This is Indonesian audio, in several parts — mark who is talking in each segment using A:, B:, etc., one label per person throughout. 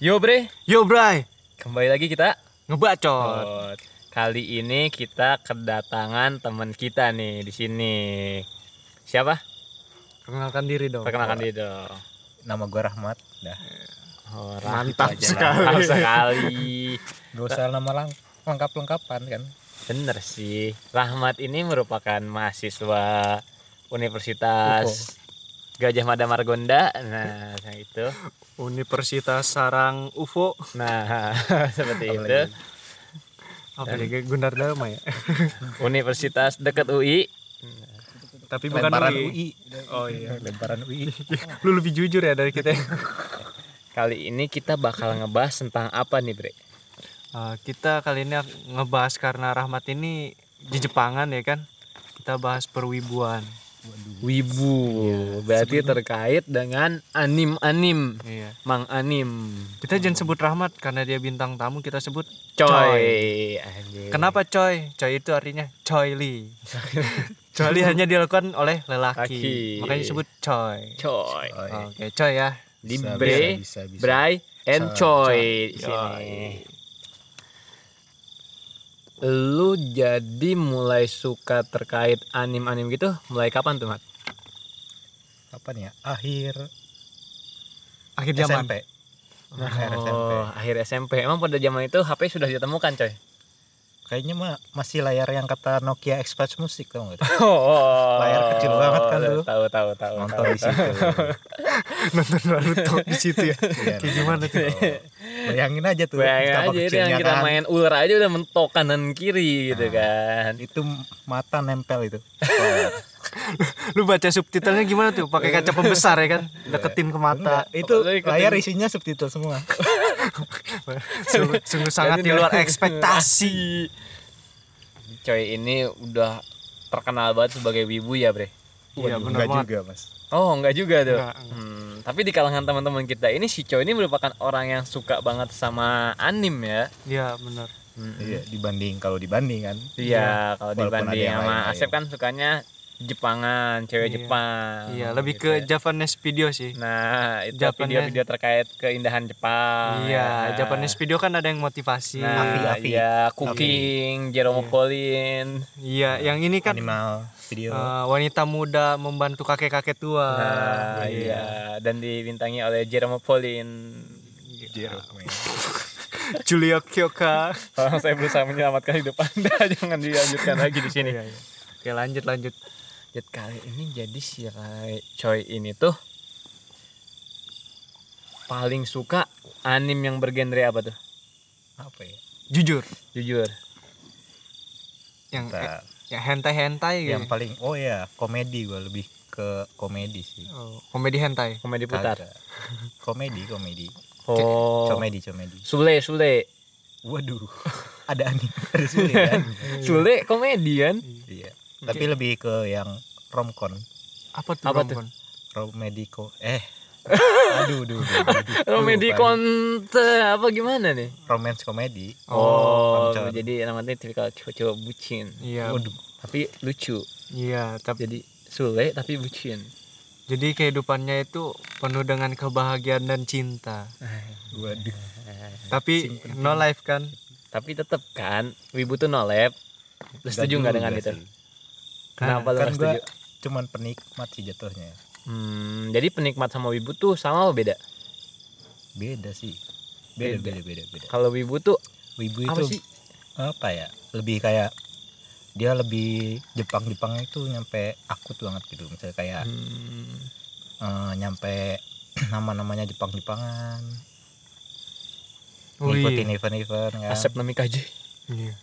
A: Yo bre,
B: Yo Bray,
A: kembali lagi kita.
B: ngebacot.
A: Kali ini kita kedatangan teman kita nih di sini. Siapa?
B: Perkenalkan diri dong.
A: Perkenalkan diri dong.
C: nama gue Rahmat dah
A: Oh,
B: Mantap
A: Rahmat.
B: sekali.
A: Mantap sekali.
C: gak usah nama lang lengkap lengkapan kan
A: Bener sih. Rahmat ini merupakan mahasiswa Universitas Gajah Mada Margonda. Nah, nah itu.
B: Universitas Sarang UFO.
A: Nah, seperti
C: Apa
A: itu.
C: lagi?
B: Apa ya? Gunar Dharma ya.
A: Universitas dekat UI.
B: Tapi bukan
C: lemparan
B: UI.
C: UI
B: Oh iya.
C: lemparan UI
B: Lu lebih jujur ya dari kita.
A: Kali ini kita bakal ngebahas tentang apa nih, Bre?
B: Eh, kita kali ini ak- ngebahas karena Rahmat ini di Jepangan ya kan. Kita bahas perwibuan.
A: Wibu.
C: Iya,
A: berarti terkait dengan anim-anim.
B: Iya.
A: Mang anim.
B: Kita jangan sebut Rahmat karena dia bintang tamu, kita sebut
A: Coy.
B: Coy.
A: Anjing.
B: Kenapa coy? Coy itu artinya coyli. coyli hanya dilakukan oleh
A: Laki.
B: lelaki. Makanya disebut coy.
A: Coy.
B: Oke, coy ya.
A: Di
C: Bisa,
A: bre,
C: bisa, bisa, bisa.
A: bray, and coy. di
B: Coy.
A: sini. Lu jadi mulai suka terkait anim-anim gitu mulai kapan tuh, Mat?
C: kapan ya akhir
B: Akhir zaman.
C: SMP akhir SMP
A: Oh, akhir SMP. Emang pada zaman itu HP sudah ditemukan, coy.
C: kayaknya mah masih layar yang kata Nokia Express Music tau gak tuh?
A: Oh,
C: Layar kecil banget kan dulu.
A: Tahu tahu tahu.
C: nonton
A: tahu.
C: di situ
B: nonton Naruto di situ ya.
C: Iya,
B: Kayak gimana tuh?
C: bayangin aja tuh
A: Bayangin
C: betapa
A: aja itu Iya, yang
C: kecilnya
A: kita
C: kan.
A: main ular aja udah mentok kanan kiri gitu kan.
C: itu mata nempel itu
B: Lu baca subtitlenya gimana tuh? Pakai kaca pembesar ya kan? Deketin ke mata.
C: Enggak, itu
A: Lu ikutin.
C: layar isinya subtitle semua
B: Sungguh, sungguh sangat di luar ekspektasi.
A: Coy ini udah terkenal banget sebagai wibu ya bre.
B: Iya, benar
C: Waduh, enggak
B: banget.
C: juga mas
A: Oh enggak juga tuh.
B: Enggak,
A: Hmm, tapi di kalangan teman-teman kita ini si Coy ini merupakan orang yang suka banget sama anim ya.
B: Iya, benar.
C: iya dibanding kalau dibanding kan
A: Iya kalau
C: Walaupun ada
A: dibanding
C: yang
A: sama
C: lain-lain.
A: Asep kan sukanya Jepangan, cewek
B: Iya.
A: Jepang.
B: Iya, lebih
A: gitu
B: ke Japanese video sih.
A: Nah, itu
B: Japanese.
A: video-video terkait keindahan Jepang.
B: Iya,
A: ya.
B: Japanese video kan ada yang motivasi.
A: Nah,
C: Afi, afi.
A: iya, cooking, Jerome Colin.
B: Iya, yang ini kan
C: animal video
B: eh, wanita muda membantu kakek-kakek tua.
A: Nah, iya, dan dibintangi oleh Jerome Colin.
C: Jero.
B: Julia Kyoka.
A: Tolong saya berusaha menyelamatkan hidup Anda, jangan dilanjutkan lagi di sini.
B: Oke, lanjut lanjut.
A: Jadi kali ini jadi si Rai Choi ini tuh paling suka anim yang bergenre apa tuh?
C: apa ya
B: Jujur,
A: Jujur.
B: yang
C: Bentar.
B: ya hentai-hentai
A: Eh,
B: gitu.
C: yang
A: iya.
C: paling oh ya komedi gue lebih ke komedi sih
B: Oh, komedi hentai.
A: Komedi putar.
C: Kagak. komedi komedi
A: Oh.
C: komedi komedi
A: Sule, Sule.
C: waduh ada anime ada sulit kan
A: Sule komedi kan?
C: iya tapi lebih ke yang romcon
B: Apa tuh?
A: Apa tuh?
B: romcon?
C: romediko eh aduh aduh, aduh, aduh, aduh.
A: Komedi konte apa gimana nih?
C: romance komedi
A: Oh,
C: Romcon.
A: jadi namanya tipikal cowok-cowok bucin.
B: Iya.
C: waduh
A: Tapi lucu.
B: Iya, tapi
A: Jadi sule tapi bucin.
B: jadi kehidupannya itu penuh dengan kebahagiaan dan cinta.
C: waduh
B: Tapi no life kan?
A: Tapi tetap kan wibu tuh no lab. Lu setuju nggak dengan
C: juga
A: itu?
C: sih.
A: Kenapa lu
C: kan
A: nggak
C: gue
A: setuju?
C: cuman penikmat sih jatuhnya
A: Hmm, jadi penikmat sama wibu tuh sama apa beda?
C: beda sih beda
A: Beda.
C: beda beda beda
A: Kalau wibu tuh
C: wibu
A: apa
C: itu
A: sih?
C: apa ya lebih kayak dia lebih Jepang Jepang itu nyampe akut banget gitu misalnya kayak
A: Hmm,
C: eh, nyampe nama-namanya Jepang Jepangan
B: Wih.
C: ngikutin event-event kan
A: Oh, iya. Asep nami kaji.
B: Oh, Iya.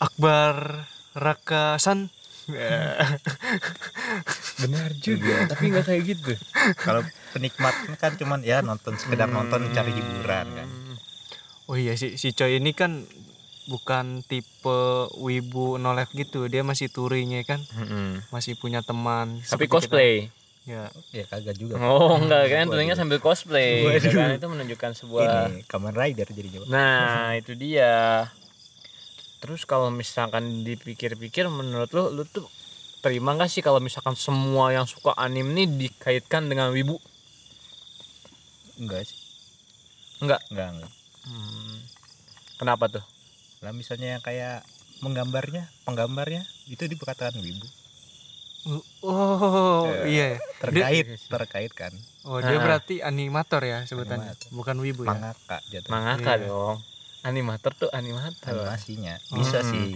B: Akbar Raka San.
A: Benar
C: Iya.
A: juga, tapi nggak kayak gitu.
C: kalau penikmat kan cuman ya nonton sekedar
A: Hmm.
C: nonton cari hiburan kan
B: Oh iya si si Choi ini kan bukan tipe wibu no life gitu. Dia masih touringnya kan, masih punya teman.
A: Tapi
B: Seperti
A: cosplay.
B: kita- Ya.
C: ya kagak juga
A: Oh, enggak kan? Tentunya sambil cosplay. gitu kan? Itu menunjukkan sebuah
C: ini Kamen Rider jadi Jepang
A: Nah, itu dia. Terus kalau misalkan dipikir-pikir menurut lu lu tuh terima gak sih kalau misalkan semua yang suka anime nih dikaitkan dengan wibu?
C: enggak sih
A: Enggak.
C: enggak enggak
A: Hmm. Kenapa tuh?
C: lah misalnya yang kayak menggambarnya penggambarnya itu dikatakan wibu
B: Oh
C: Eh,
B: iya. ya.
C: terkait terkait kan
B: Oh dia
A: Ah.
B: berarti animator ya sebutannya,
C: Animator.
B: bukan wibu ya.
C: mangaka jatuh
A: Mangaka
B: Iya.
A: dong. Animator tuh animator.
C: animasinya bisa
B: Hmm.
C: sih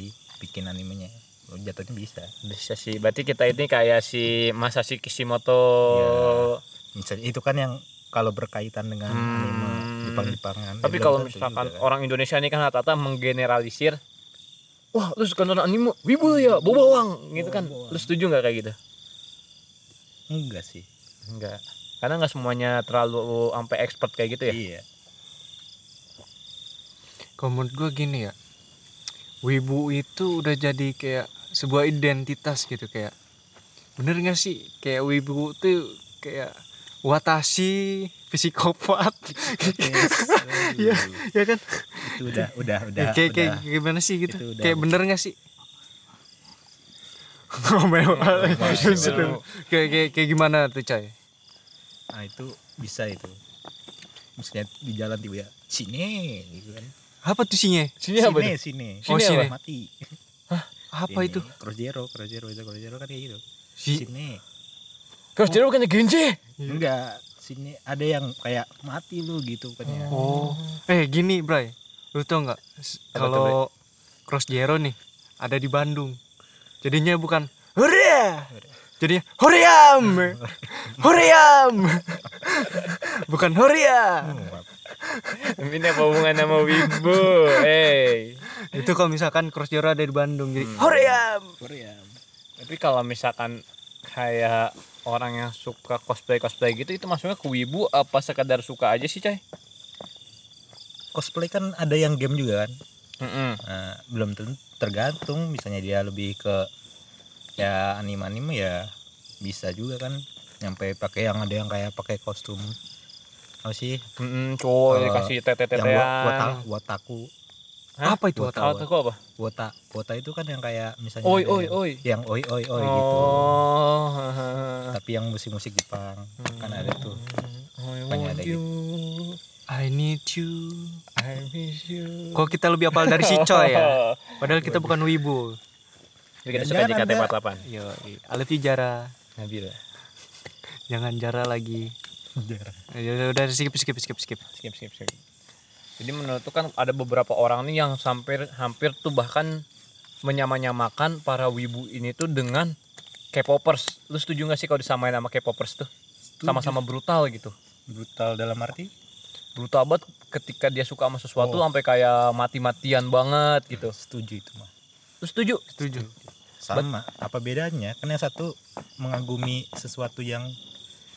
C: bikin animenya Oh, jatuhnya bisa
A: Bisa sih. Berarti kita ini kayak si Masashi Kishimoto. Iya.
C: misalnya itu kan yang kalau berkaitan dengan
A: Hmm.
C: anime Jepang-Jepangan
A: Tapi
C: Belum
A: kalau
C: tentu
A: misalkan
C: juga kan.
A: orang Indonesia ini kan rata-rata menggeneralisir Wah, lu suka nonton anime, wibu lu ya, bobawang gitu kan.
C: Bobawang.
A: Lu setuju nggak kayak gitu?
C: enggak sih
A: Enggak. Karena nggak semuanya terlalu sampai expert kayak gitu ya.
C: iya
B: Kalau menurut gue gini ya, wibu itu udah jadi kayak sebuah identitas gitu kayak. Bener gak sih kayak wibu tuh kayak watashi psikopat
C: Iya.
B: ya kan
C: itu udah udah udah
B: kayak kayak
C: udah.
B: gimana sih gitu
C: Itu udah.
B: kayak bener gak sih Ngomel
C: Iya,
B: banget. Justru. kayak kayak kayak gimana tuh coy
C: Nah, itu bisa itu maksudnya di jalan tiba ya sini gitu kan
B: apa tuh sinye
A: Sini apa
C: sini
A: tuh?
C: sini
B: Oh, sini.
C: mati
B: apa
C: Sini.
B: itu
C: cross zero cross zero itu cross zero kan kayak gitu
B: si
C: sini
A: Kau secara bukannya genje?
B: Iya.
C: enggak sini ada yang kayak mati lu gitu kan ya
B: oh eh gini bray lu tau nggak s-
A: Apa tuh,
B: kalau cross zero nih ada di Bandung jadinya bukan Huria jadinya Huriam Huriam bukan Huria
C: Muap.
A: Ini apa hubungan sama Wibu? Hey.
B: itu kalau misalkan cross zero ada di Bandung
A: Hmm.
B: jadi Huriam
C: Korea
A: Tapi kalau misalkan kayak orang yang suka cosplay cosplay gitu itu masuknya ke wibu apa sekadar suka aja sih coy?
C: cosplay kan ada yang game juga kan
A: Mm-mm.
C: Nah, belum tentu tergantung misalnya dia lebih ke ya anime anime ya bisa juga kan nyampe pakai yang ada yang kayak pakai kostum apa sih
A: Mm-mm, cowok
C: Eh,
A: dikasih tete
C: yang wa- wata-
A: tetean.
C: wataku
A: Hah?
B: apa itu
C: Buat
B: otak
A: Kalau aku apa?
C: wota wota itu kan yang kayak misalnya
A: Oi
C: ada
A: oi
C: yang,
A: oi.
C: yang oi oi oi gitu
A: Oh.
C: tapi yang musik-musik Jepang kan ada tuh
A: I
C: Banyak
A: want
C: ada
A: you,
B: I need you
A: I miss you.
B: kok kita lebih apal dari si coy ya padahal kita bukan wibu
A: Kita suka
C: Jangan,
A: JKT48.
B: yo alif jara
A: Nabila.
B: jangan jara lagi ya udah, udah skip skip skip skip
A: skip skip skip jadi menurut tuh kan ada beberapa orang nih yang hampir hampir tuh bahkan menyamanyamakan para wibu ini tuh dengan K-popers lu setuju gak sih kalau disamain sama K-popers tuh sama-sama brutal gitu
C: brutal dalam arti
A: brutal banget ketika dia suka sama sesuatu sampai kayak mati-matian banget gitu
C: setuju itu mah
A: lu setuju
B: setuju
C: sama apa bedanya kan yang satu mengagumi sesuatu yang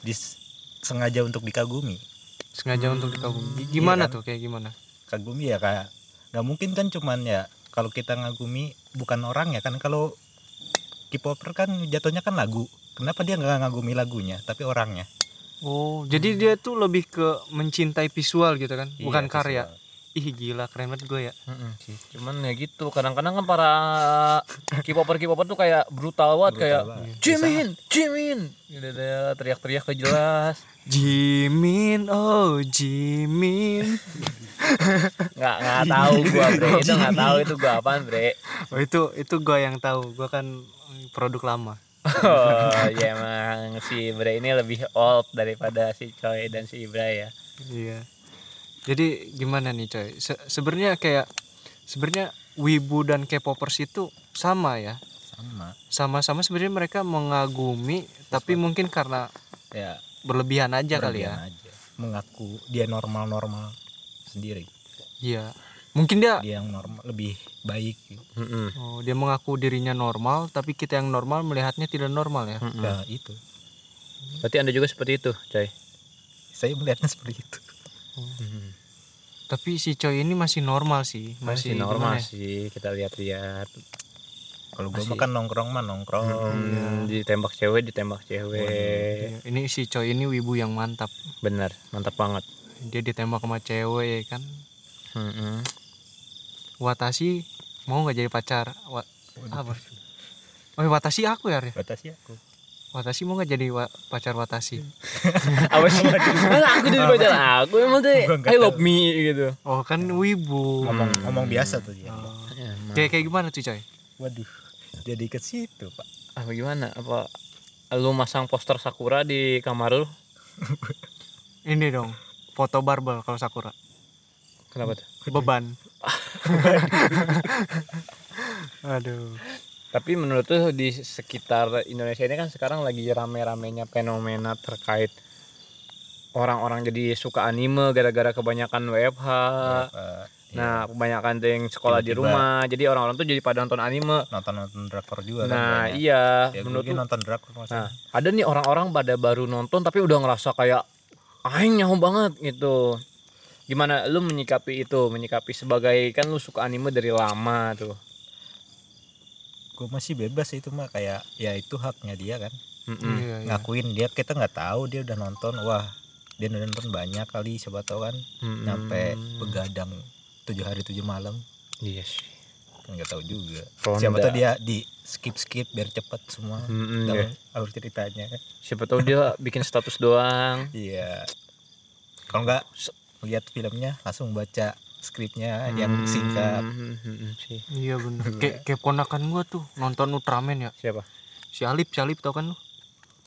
C: dis sengaja untuk dikagumi
B: sengaja untuk dikagumi gimana
C: Iya kan?
B: tuh kayak gimana
C: kagumi ya kayak nggak mungkin kan cuman ya kalau kita ngagumi bukan orang ya kan kalau K-popper kan jatuhnya kan lagu kenapa dia nggak ngagumi lagunya tapi orangnya
B: oh jadi dia tuh lebih ke mencintai visual gitu kan bukan
C: Iya,
B: karya
C: visual.
B: ih gila keren banget gue ya
A: cuman ya gitu kadang-kadang kan para K-popper K-popper tuh kayak brutal banget kayak
C: Brutal banget.
A: Jimin Jimin gitu deh teriak-teriak ke jelas
B: Jimin oh Jimin
A: nggak nggak tahu gua bre itu nggak tahu itu gua apaan bre
B: oh itu itu gue yang tahu gue kan produk lama
A: oh ya emang si bre ini lebih old daripada si coy dan si ibra ya
B: Iya. Jadi gimana nih coy? Se- sebenarnya kayak sebenarnya wibu dan K-popers itu sama ya.
C: sama
B: Sama-sama sebenarnya mereka mengagumi tapi mungkin karena
C: ya
B: berlebihan aja kali ya.
C: berlebihan aja. mengaku dia normal normal sendiri
B: Iya. Mungkin dia
C: dia yang normal lebih baik
B: oh, dia mengaku dirinya normal tapi kita yang normal melihatnya tidak normal
A: Hmm.
B: ya.
C: Nah, itu
A: berarti anda juga seperti itu coy
C: saya melihatnya seperti itu
B: Tapi si coy ini masih normal sih, masih,
A: normal
B: gimana ya?
A: sih kita lihat-lihat
C: kalau gue
B: Masih-
C: makan nongkrong mah nongkrong
A: Hmm, ditembak cewek ditembak cewek
B: Iya, Ini si coy ini wibu yang mantap.
A: bener mantap banget
B: Dia ditembak sama cewek ya kan.
A: Mm-mm.
B: Watashi mau nggak jadi pacar? Wa- apa? Oh, Watashi aku ya, Arya?
C: batasi aku
B: Watashi mau nggak jadi wa- pacar Watashi?
A: Hmm. apa sih Mana aku jadi pacar aku emang tuh
C: Gua nggak
A: I love me gitu
B: Oh kan wibu.
C: ngomong
A: Hmm.
C: ngomong biasa tuh dia
B: Oh.
A: Iya, Emang.
B: Kayak kayak gimana tuh coy?
C: waduh jadi ke situ pak
A: apa Ah, gimana apa lu masang poster sakura di kamar lu
B: Ini dong foto barbel kalau Sakura.
A: kenapa tuh
B: Beban. Aduh.
A: tapi menurut tuh di sekitar Indonesia ini kan sekarang lagi rame-ramenya fenomena terkait orang-orang jadi suka anime gara-gara kebanyakan WFH
C: Eh,
A: nah kebanyakan tuh yang sekolah di
C: Tiba-tiba.
A: rumah jadi orang-orang tuh jadi pada nonton anime
C: nonton nonton drakor juga
A: nah
C: kan banyak.
A: iya
C: ya,
A: menurut
C: menurut
A: tuh
C: nonton drakor maksudnya
A: Nah, ada nih orang-orang pada baru nonton tapi udah ngerasa kayak aing nyaho banget gitu. Gimana lu menyikapi itu? Menyikapi sebagai kan lu suka anime dari lama tuh.
C: gue masih bebas itu mah kayak ya itu haknya dia kan
A: Mm-mm.
B: Iya, iya.
C: ngakuin dia kita nggak tahu dia udah nonton wah dia udah nonton banyak kali siapa tahu kan
A: Mm-mm.
C: nyampe begadang tujuh hari tujuh malam Iya
A: Yes.
C: kan nggak tahu juga
A: Ronda.
C: siapa tahu dia di skip skip biar cepat semua
A: Mm-mm,
C: dalam
A: ya.
C: alur ceritanya kan.
A: Siapa tahu dia bikin status doang.
C: iya kalau nggak lihat filmnya langsung baca skripnya yang singkat
A: Mm, mm-mm, si-
B: Iya bener. Kayak kayak ponakan gua tuh nonton Ultraman ya.
A: Siapa?
B: Si Alip, si Alip tau kan lu?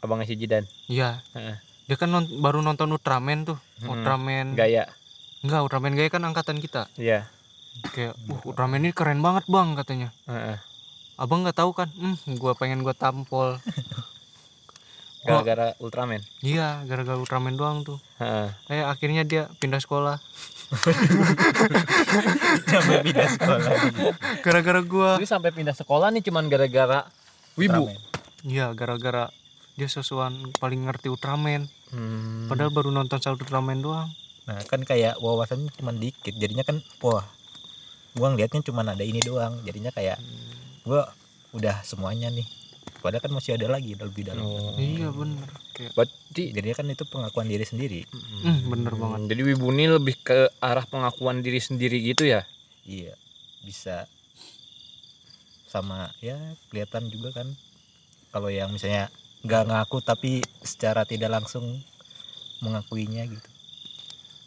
A: Abangnya si Jidan.
B: Iya.
A: Heeh.
B: Dia kan non- baru nonton Ultraman tuh.
A: Mm-mm.
B: Ultraman.
A: Gaya.
B: Enggak, Ultraman gaya kan angkatan kita.
A: Iya.
B: Kayak, "Wah, Ultraman ini keren banget, Bang," katanya.
A: Heeh.
B: Abang nggak tahu kan? Hmm, gua pengen gua tampol.
A: Gara-gara Ultraman.
B: Iya, gara-gara Ultraman doang tuh.
A: Heeh.
B: Eh, akhirnya dia pindah sekolah.
C: sampai pindah sekolah
B: Gara-gara gua.
A: Jadi sampai pindah sekolah nih cuman gara-gara Wibu.
C: Ultraman.
B: Iya, gara-gara dia sosokan paling ngerti Ultraman.
A: Hmm.
B: Padahal baru nonton satu Ultraman doang.
C: nah kan kayak wawasannya cuma dikit jadinya kan wah gua ngeliatnya cuma ada ini doang jadinya kayak gua udah semuanya nih padahal kan masih ada lagi lebih dalam
A: Oh.
B: Iya, bener. Kayak,
A: Berarti
C: jadinya kan itu pengakuan diri sendiri
B: hmm, bener banget.
A: Hmm, Jadi Wibu ini lebih ke arah pengakuan diri sendiri gitu ya.
C: iya bisa sama ya kelihatan juga kan kalau yang misalnya nggak ngaku tapi secara tidak langsung mengakuinya gitu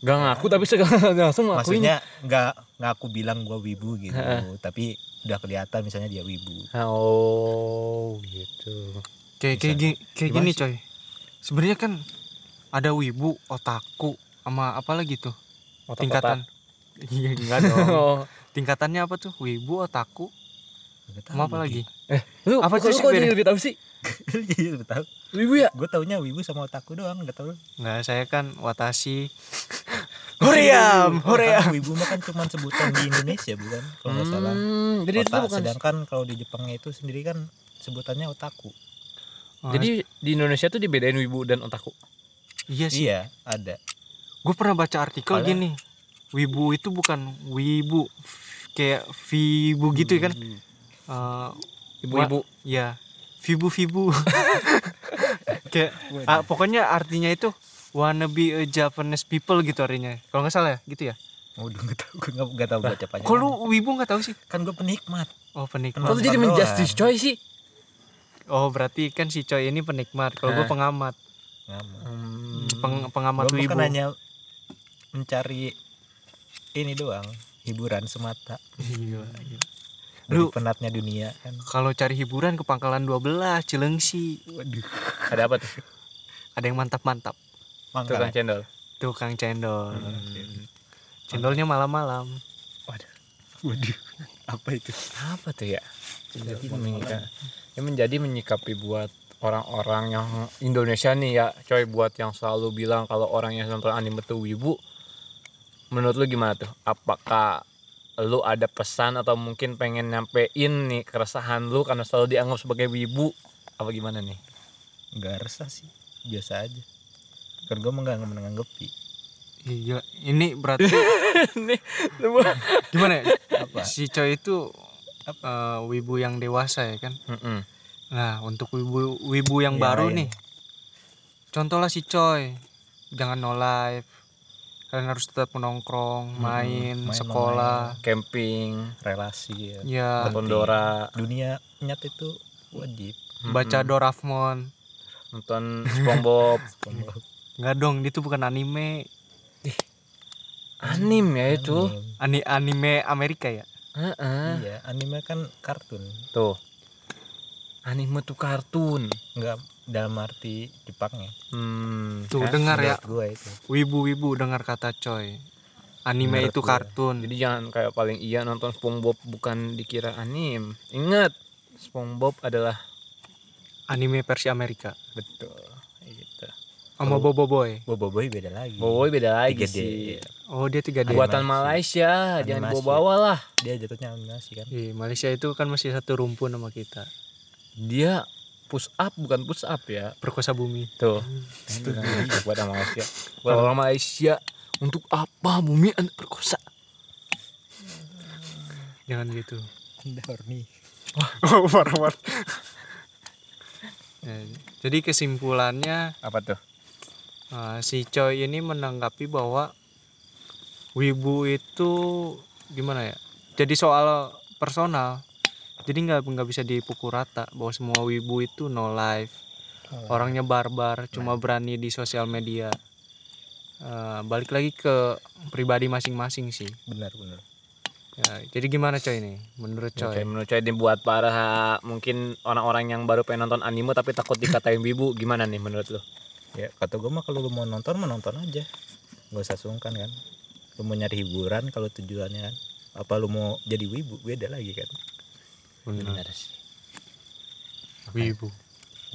A: Gak ngaku tapi segala langsung ngakuin.
C: maksudnya nggak ngaku bilang gua wibu gitu tapi udah kelihatan misalnya dia wibu
A: Oh gitu.
B: Kayak kayak
C: Bisa.
B: gini, kayak
C: Gimana
B: gini,
C: sih?
B: coy. Sebenarnya kan ada wibu, otaku, sama apa lagi tuh?
A: Otak-otak.
B: Tingkatan. Iya, enggak dong.
A: Oh.
B: Tingkatannya apa tuh? Wibu, otaku,
C: Nggak tahu gitu.
B: sama apa lagi?
A: Lu
B: Apa
A: apa sih
B: sih
A: kok
B: sebenarnya?
A: jadi lebih tahu sih?
C: iya udah tahu
A: Wibu ya?
C: gue taunya wibu sama otaku doang nggak tahu
B: Enggak, saya kan watashi. Hoream, hoream.
C: Otaku, wibu mah kan cuma sebutan di Indonesia bukan kalau nggak salah
A: Hmm, jadi itu
C: Otak,
A: bukan.
C: sedangkan kalau di Jepangnya itu sendiri kan sebutannya otaku
A: Jadi di Indonesia tuh dibedain Wibu dan otaku.
B: iya sih.
C: iya ada
B: Gue pernah baca artikel
C: Padahal-
B: gini. Wibu itu bukan wibu F- kayak vibu gitu kan. Eh,
A: Ibu-ibu.
B: ya, vibu-vibu. kayak ah, pokoknya artinya itu wannabe a Japanese people gitu artinya. Kalau nggak salah ya, gitu ya.
C: Waduh nggak tahu gue nggak nggak tahu gue ucapannya.
B: Kok lu wibu nggak tahu sih?
C: kan gue penikmat.
B: Oh,
A: Kok
B: penikmat.
C: Kenapa?
A: lu jadi
C: Nonton
A: menjustice coy sih?
B: Oh, berarti kan si coy ini penikmat. Kalau gue
A: Hah.
B: pengamat.
C: Ngamu.
A: Hmm.
B: Peng- pengamat
C: Gue
B: wibu.
C: kan hanya mencari ini doang hiburan semata
B: Iya, iya.
C: dari
B: Lu-
C: penatnya dunia kan.
B: Kalau cari hiburan ke pangkalan 12 Cilengsi.
C: Waduh.
A: Ada apa tuh?
B: Ada yang mantap-mantap.
A: Tukang
C: Mangkal.
A: cendol.
B: Tukang cendol. Cendolnya malam-malam.
C: Waduh. Apa itu?
A: apa tuh ya jadi menyika- ya menjadi menyikapi buat orang-orang yang Indonesia nih ya coy buat yang selalu bilang kalau orang yang nonton anime tuh wibu menurut lu gimana tuh apakah lu ada pesan atau mungkin pengen nyampein nih keresahan lu karena selalu dianggap sebagai wibu apa gimana nih
C: Gak resah sih. Biasa aja. Kan gue nggak menanggapi.
B: Iya, ini berarti gimana ya?
C: Apa?
B: Si Choi itu eh, wibu yang dewasa ya kan?
A: Mm-mm.
B: Nah, untuk wibu wibu yang
C: Iya,
B: baru
C: iya.
B: nih. Contohlah si Choi. Jangan no life. Kalian harus tetap menongkrong, main,
C: main,
B: sekolah.
A: camping
C: Relasi. Ya.
B: Ya,
A: ke Tondora
C: Dunia nyata itu wajib.
A: Mm-mm.
B: baca Doraemon.
A: nonton SpongeBob
B: Enggak dong, itu bukan anime.
A: anim ya itu
C: Anime.
B: Ani anime Amerika ya.
A: Heeh.
C: iya anime kan kartun
A: tuh anime tuh kartun
C: nggak dalam arti Jepangnya
A: hmm
B: Tuh
C: Eh,
A: kan?
B: dengar ya,
C: gue itu
B: wibu-wibu dengar kata coy. Anime
C: Menurut
B: itu
C: gua.
B: kartun.
A: jadi jangan kayak paling iya nonton SpongeBob bukan dikira anim ingat SpongeBob adalah
B: anime versi Amerika.
A: betul kayak gitu
B: Sama
C: Kalau-
B: Bobo Boy.
C: Bobo Boy beda lagi
A: Boboiboy beda lagi
C: 3D.
A: sih
B: Oh, dia 3D.
C: Buat-
A: buatan
C: Animasi.
A: Malaysia jangan
C: Animasi.
A: dibawa-bawa lah
C: dia jatuhnya animasi kan
B: Iya, Malaysia itu kan masih satu rumpun sama kita.
A: dia push up bukan push up ya
B: Perkosa bumi.
A: tuh setuju buat orang Malaysia buat orang Malaysia untuk apa bumi anda perkosa
B: Jangan gitu.
C: Anda horny
B: Oh, war-war. Ya, Jadi kesimpulannya
A: apa tuh
B: eh, si Choi ini menanggapi bahwa wibu itu gimana ya? Jadi soal personal. Jadi nggak nggak bisa dipukul rata bahwa semua wibu itu no life. orangnya barbar cuma berani di sosial media Eh, balik lagi ke pribadi masing-masing sih
C: benar benar
B: Ya, jadi gimana coy ini menurut
A: Oke,
B: coy
A: menurut saya ini buat para mungkin orang-orang yang baru pengen nonton anime tapi takut dikatain wibu gimana nih menurut lo?
C: ya kata gue mah kalau lu mau nonton mau nonton aja nggak usah sungkan kan lu mau nyari hiburan kalau tujuannya kan apa lu mau jadi wibu beda lagi kan
A: Hmm.
B: bener
A: sih.
B: wibu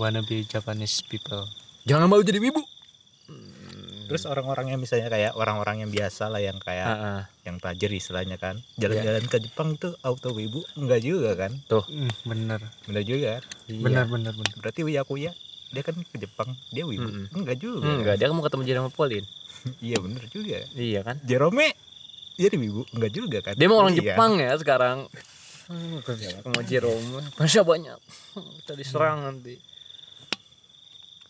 B: wanna be Japanese people
A: Jangan mau jadi wibu. Hmm.
C: terus orang-orang yang misalnya kayak orang-orang yang biasa lah yang kayak
A: Heeh.
C: yang tajir istilahnya kan
A: Ya.
C: jalan-jalan ke Jepang tuh auto wibu enggak juga kan
B: Mm, bener Iya.
C: bener juga kan?
B: bener bener bener
C: berarti Uyakuya dia kan ke Jepang dia wibu
A: Mm-mm.
C: enggak juga
A: Hmm, enggak
C: kan?
A: dia mau ketemu Jerome Pauline.
C: iya bener juga
A: Iya kan?
C: Jerome jadi wibu enggak juga kan
A: Dia mau orang
C: Iya.
A: Jepang ya sekarang. Hmm, Ketemu Jerome. Masa banyak. Kita diserang nanti.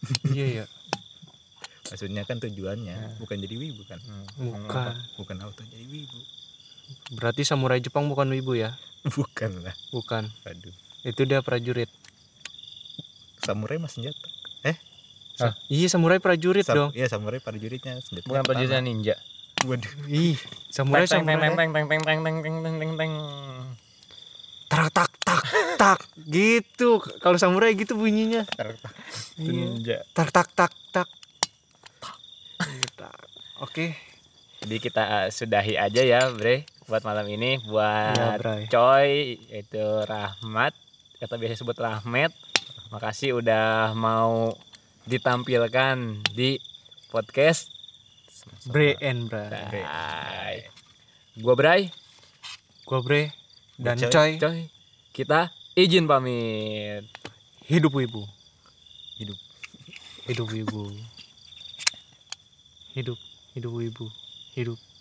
B: iya ya
C: maksudnya kan tujuannya bukan jadi wibu kan
B: Hmm. bukan
C: bukan auto jadi wibu
B: berarti samurai Jepang bukan wibu ya
C: bukan lah
B: bukan
C: aduh
B: itu dia prajurit
C: samurai mas senjata
B: iya samurai prajurit
C: Sam-
B: dong
C: ya samurai prajuritnya senjata
A: Bukan prajuritnya ninja.
C: waduh
B: ih samurai
A: Teng teng teng
B: samurai
A: teng teng teng teng teng teng teng teng teng.
B: tak tak tak tak gitu kalau samurai gitu bunyinya
A: Itu
B: Iya.
A: ninja.
B: tak tak tak tak Iya, Tak. oke
A: Jadi kita eh, sudahi aja ya, Bre, buat malam ini buat
B: Bray.
A: Coy itu Rahmat atau biasa sebut Rahmat. Makasih udah mau ditampilkan di podcast.
B: Iya, Bre and Bray
C: Bre.
A: Bray. Gua Bray,
B: gua Bre dan
C: Gua
B: coy,
A: Coy. Kita izin pamit.
B: hidup wibu
C: hidup
B: hidup wibu hidup hidup wibu hidup